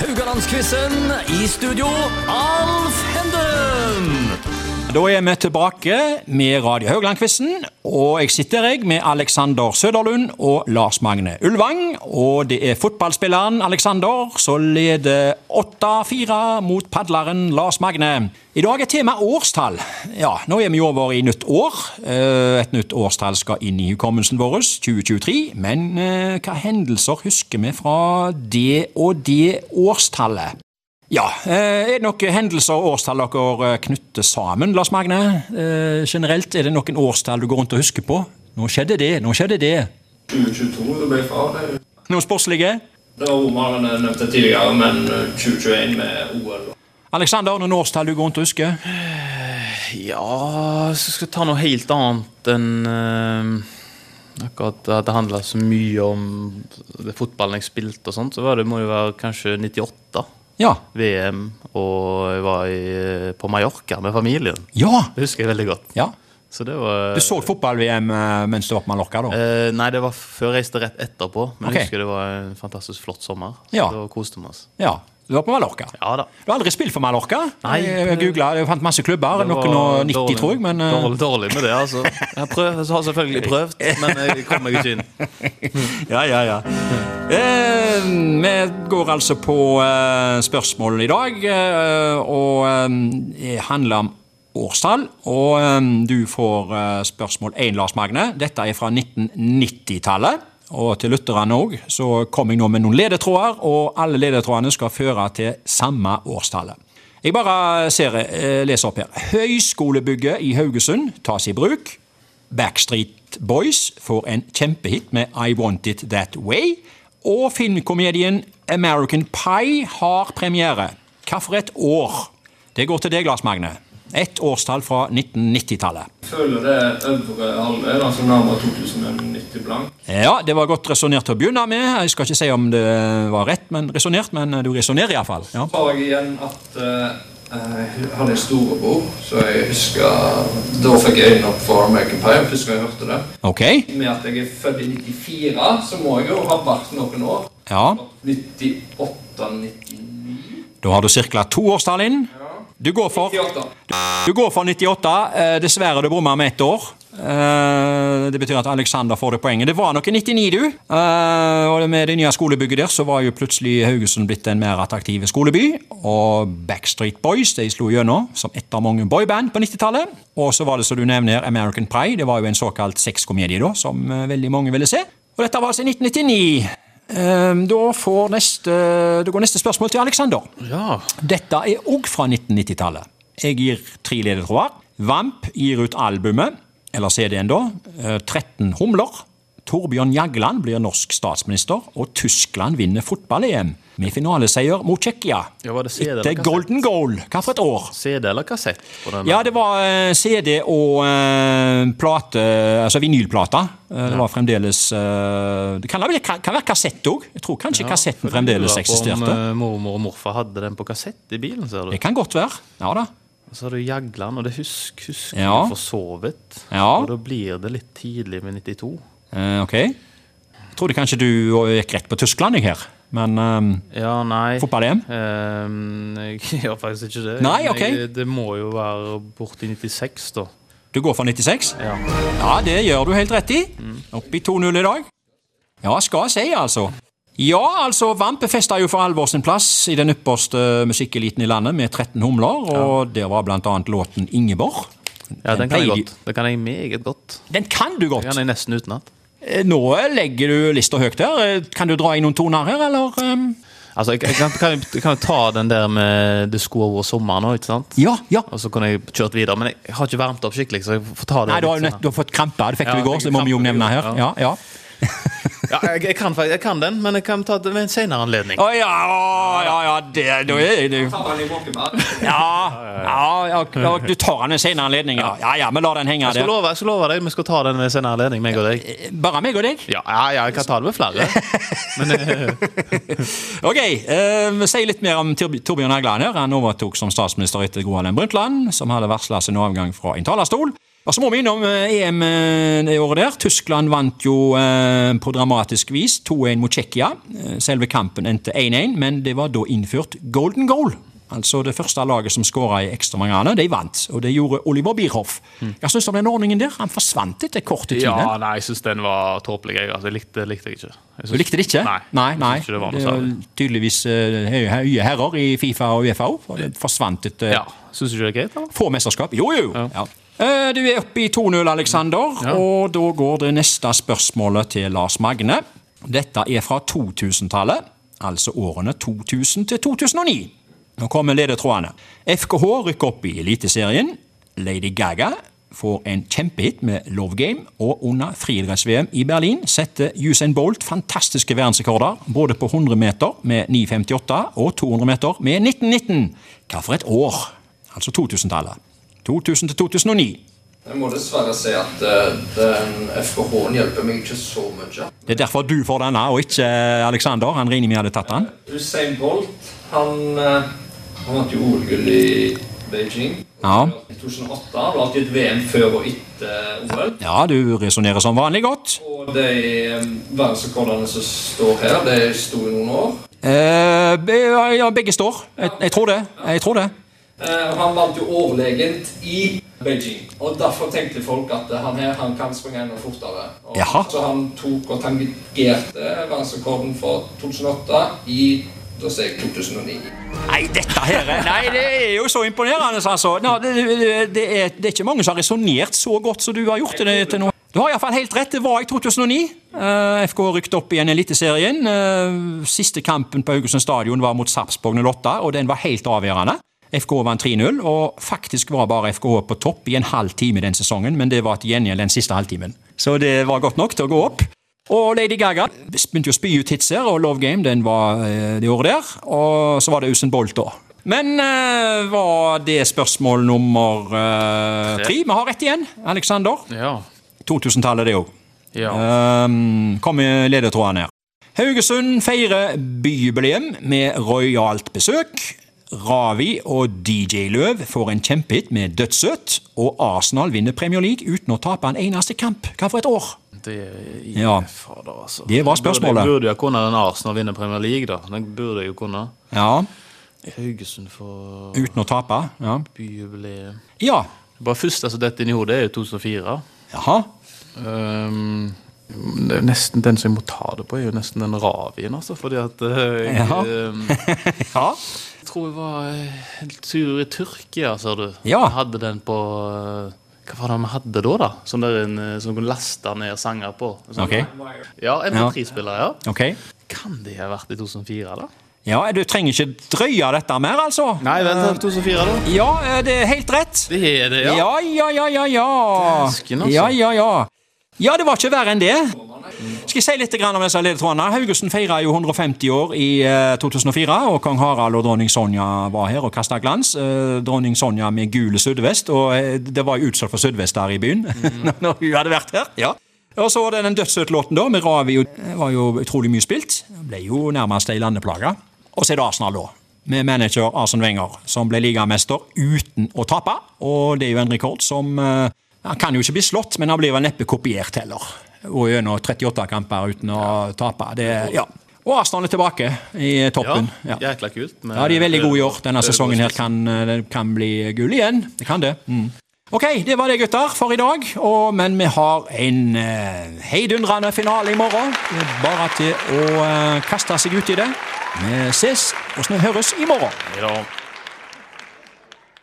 Rogalandsquizen i studio, Alf Henden! Da er vi tilbake med Radio Haugland-quizen. Og jeg sitter jeg med Alexander Søderlund og Lars Magne Ulvang. Og det er fotballspilleren Alexander som leder 8-4 mot padleren Lars Magne. I dag er tema årstall. Ja, nå er vi jo over i nytt år. Eh, Et nytt årstall skal inn i hukommelsen vår, 2023. Men eh, hva hendelser husker vi fra det og det årstallet? Ja, eh, er det noen hendelser og årstall dere eh, knytter sammen, Lars Magne? Eh, Generelt, er det noen årstall du går rundt og husker på? Nå skjedde det, nå skjedde det. 2022 det ble far. det. Noen sportslige? Det var romerne nevnte tidligere, men eh, 2021 med OL. Aleksander, noen årstall du går rundt og husker? Ja, så skal jeg ta noe helt annet enn eh, akkurat at det handla så mye om det fotballen jeg spilte og sånt, så var det, må det være kanskje 98. Ja. VM, og jeg var i, eh, på Mallorca med familien. Ja! Det husker jeg veldig godt. ja. Så det var Du så fotball-VM eh, mens du var på Mallorca, da? Eh, Nei, det var før jeg reiste rett etterpå, men Ok. jeg husker det var en fantastisk flott sommer. Så Ja. Da koste vi oss. Ja. Du var på Mallorca? Ja da. Du har aldri spilt for Mallorca? Nei. Jeg jeg googlet, jeg fant masse klubber. Det Noen var og 90, dårlig- tror jeg. Men eh, dårlig, dårlig med det, altså. Jeg har, prøvd, jeg har selvfølgelig prøvd, men jeg kom meg ikke inn. Ja, ja, ja. Eh, vi går altså på eh, spørsmål i dag, eh, og eh, det handler om årstall. Og eh, du får eh, spørsmål én, Lars Magne. Dette er fra 1990-tallet. Og til lytterne òg, så kom jeg nå med noen ledetråder, og alle ledetrådene skal føre til samme årstallet. Jeg bare ser, eh, leser opp her. Høyskolebygget i Haugesund tas i bruk. Backstreet Boys får en kjempehit med I Want It That Way. Og filmkomedien American Pie har premiere. Hva for et år? Det går til deg, Lars Magne. Ett årstall fra 1990-tallet. Jeg føler det er øvre halvdel, altså nærmere 2090 blank. Ja, det var godt resonnert til å begynne med. Jeg skal ikke si om det var rett, men resonnert, men du resonnerer iallfall. Ja. Så har jeg igjen at eh, jeg hadde en storebror, så jeg husker Da fikk jeg øynene opp for American Pie første gang jeg hørte det. Ok. Med at jeg er født i 94, så må jeg jo ha vært noen år. Ja. 98-99 Da har du ca. to årstall inn. Du går for 98. Du går for 98. Eh, dessverre, du bommer med ett år. Eh, det betyr at Alexander får det poenget. Det var nok i 99, du. Eh, og med det nye skolebygget der, så var jo plutselig Haugesund blitt en mer attraktiv skoleby. Og Backstreet Boys de slo gjennom som ett av mange boyband på 90-tallet. Og så var det, som du nevner, her, American Pie. Det var jo en såkalt sexkomedie da, som eh, veldig mange ville se. Og dette var altså i 1999. Eh, da, får neste, da går neste spørsmål til Alexander. Ja. Dette er òg fra 1990-tallet. Jeg gir tre ledetråder. Vamp gir ut albumet, eller CD-en da, eh, 13 humler. Torbjørn Jagland blir norsk statsminister, og Tyskland vinner fotball-EM med finaleseier mot Tsjekkia. Ja, var det CD eller Etter kassett? golden goal. Hva for et år? CD eller kassett på den? Ja, det var eh, CD og eh, plate, altså vinylplata. Eh, Det var fremdeles eh, Det kan, det kan kan være kassett òg. Jeg tror kanskje kassetten fremdeles Om eksisterte. eh, mormor og morfar hadde den på kassett i bilen, ser du. Det kan godt være. Ja da. Og så har du Jagland, og det husk, husker Ja. jeg for så vidt. Ja. Og da blir det litt tidlig med 92. Eh, ok. Jeg trodde kanskje du gikk rett på Tyskland, jeg her. Men eh, Ja, nei fotball-EM? Ehm, jeg gjør faktisk ikke det. Nei, ok. jeg, det må jo være borti 96, da. Du går for 96? Ja. Ja, det gjør du helt rett i. Opp i 2-0 i dag. Ja, skal jeg si, altså. Ja, altså, Vampe festa jo for alvor sin plass i den ypperste musikkeliten i landet med 13 humler, og der var blant annet låten Ingeborg. ja, den kan jeg pleier de- godt. Den kan jeg meget godt. Den kan du Den godt! kan jeg nesten utenat. Eh, Nå legger du lista høyt der. Eh, Kan du dra inn noen toner her, eller? eh? Altså, jeg, jeg, kan, kan, jeg- jeg kan jo ta den der med 'Det skulle over sommeren' nå, ikke sant? Ja, ja. Og så kunne jeg kjørt videre, men jeg har ikke varmt opp skikkelig, så jeg får ta det Nei, du har jo litt nett- du har fått krampe. Det fikk du Ja, i går, jeg så det må vi jo fikk nevne her. krampe i går, Ja, ja. senere. Ja, jeg, jeg, kan, fakt- jeg kan den, men jeg kan ta det ved en senere anledning. Å ja, å, ja, ja, det, da er det Ta den i måkebær. Ja, ja, ja, ja, du tar den en senere anledning, ja. Ja, ja, vi lar den henge Jeg skal, der. love, jeg skal love deg, vi skal ta den ved en senere anledning, meg og deg. Bare meg og deg? Ja, ja, ja jeg kan ta det med flere. Ok, eh, si litt mer om Tor- Torbjørn Hagland her. Han overtok som statsminister etter Gro Harlem Brundtland, som hadde varsla sin avgang fra en talerstol. Og så må vi innom eh, EM eh, det året der. Tyskland vant jo eh, på dramatisk vis 2-1 mot Tsjekkia. Eh, Selve kampen endte 1-1, men det var da innført golden goal. Altså det første laget som skåra i ekstraomgangene, de vant. Og det gjorde Oliver Bierhoff. Hva syns du om den ordningen der? Han forsvant etter kort tid. eh. Ja, nei, jeg syns den var tåpelig. Jeg, altså, jeg likte, likte jeg ikke. Jeg Du synes- likte det ikke? Nei. nei, jeg nei. synes ikke det var noe Det var særlig. tydeligvis eh, høye høye herrer i Fifa og Uefa òg. Det forsvant eh, etter Ja, Syns du ikke det er greit, eller? Få mesterskap. Jo, jo! Ja. Eh, Du er oppe i 2-0, Alexander, og da går det neste spørsmålet til Lars Magne. Dette er fra 2000-tallet, altså årene 2000 til 2009. Nå kommer ledetrådene. FKH rykker opp i Eliteserien. Lady Gaga får en kjempehit med Love Game, og under friidretts-VM i Berlin setter Usain Bolt fantastiske verdensrekorder, både på 100 meter med 9,58 og 200 meter med 19,19. Hva for et år? Altså 2000-tallet. 2000 til 2009. Jeg må dessverre si at eh, den FKH-en hjelper meg ikke så mye. Det er derfor du får denne, og ikke eh, Alexander. Han regner med hadde tatt den. Usain Bolt, han, eh, han vant jo OL-gull i Beijing. Ja. I 2008 han har alltid et VM før og etter OL. Ja, du resonnerer som vanlig godt. Og de eh, verdensrekordene som står her, de sto i noen år. Eh, be- ja, begge står. Jeg, jeg tror det. Jeg tror det. Eh, og han vant jo overlegent i Beijing. Og derfor tenkte folk at eh, han her han kan springe enda fortere. Og, Jaha. Så han tok og tangerte verdensrekorden fra 2008 i da sier jeg 2009. Nei, dette her er- Nei, det er jo så imponerende, altså. Nå, det, det, det, er, det er ikke mange som har resonnert så godt som du har gjort det til nå. Du har iallfall helt rett. Det var i 2009. Eh, FK rykket opp igjen i Eliteserien. Eh, siste kampen på Haugesund stadion var mot Sarpsborg 08, og den var helt avgjørende. FK vant 3-0, og faktisk var bare FK på topp i en halv time den sesongen, men det var til gjengjeld den siste halvtimen. Så det var godt nok til å gå opp. Og Lady Gaga begynte jo å spy ut hits her, og Love Game den var eh, det året der. Og så var det Usain Bolt da. Men eh, var det spørsmål nummer eh, tre? Vi har ett igjen. Alexander. Ja. 2000-tallet, det òg. ja. Um, kom med ledetråden her. Haugesund feirer byjubileum med rojalt besøk. Ravi og DJ Løv får en kjempehit med Dødssøt. Og Arsenal vinner Premier League uten å tape en eneste kamp. Hva for et år? Det, Ja. fader, altså. Det var spørsmålet. Jeg burde jo kunne den Arsenal vinne Premier League, da. Den burde jeg jo kunne. Ja, Haugesund for Uten å tape? Ja. byjubileum. ja. Bare først, altså, dette inn i hodet er jo 2004. Jaha. Ehm, det er jo nesten Den som jeg må ta det på, er jo nesten den Ravien, altså. Fordi at eh, jeg, Ja. ehm, Ja. jeg tror jeg var eh, en tur i Tyrkia, ser du. Ja. Jeg hadde den på eh, Hva var det vi hadde da, da? Som, der en, eh, som kunne laste ned sanger på. Sånn. Ok. Ja, MP3-spiller, ja. ok. Kan det ha vært i 2004, da? Ja, Du trenger ikke drøye dette mer, altså. Nei, vent, 2004, da? Ja, eh, det er helt rett. Det er det, ja. Ja, ja, ja, ja. Ja, Dæsken, altså. ja, ja. ja. Ja, det var ikke verre enn det. Skal jeg si litt grann om disse ledetrådene? Haugesund feira jo 150 år i eh, 2004, og kong Harald og dronning Sonja var her og kasta glans. Eh, dronning Sonja med gule sydvest, og eh, det var jo utsolgt for sydvest her i byen når hun hadde vært her. ja. Og så var det den dødssøtlåten da, med Ravi, og det var jo utrolig mye spilt. Det ble jo nærmest ei landeplage. Og så er det Arsenal, da. Med manager Arsen Wenger, som ble ligamester uten å tape. Og det er jo en rekord som eh, Han kan jo ikke bli slått, men han blir vel neppe kopiert heller. Og gjennom 38 kamper uten å tape. Det, ja. Og Arsenal er tilbake i toppen. Ja, ja. Jækla kult. med- de er veldig gode i år. Denne sesongen her Ødegaard. kan, det kan bli gull igjen. Det kan det. Mm. Ok, det var det, gutter, for i dag. Og, men vi har en eh, heidundrende finale i morgen. Det er bare til å eh, kaste seg ut i det. Vi ses og høres i morgen. Ja da.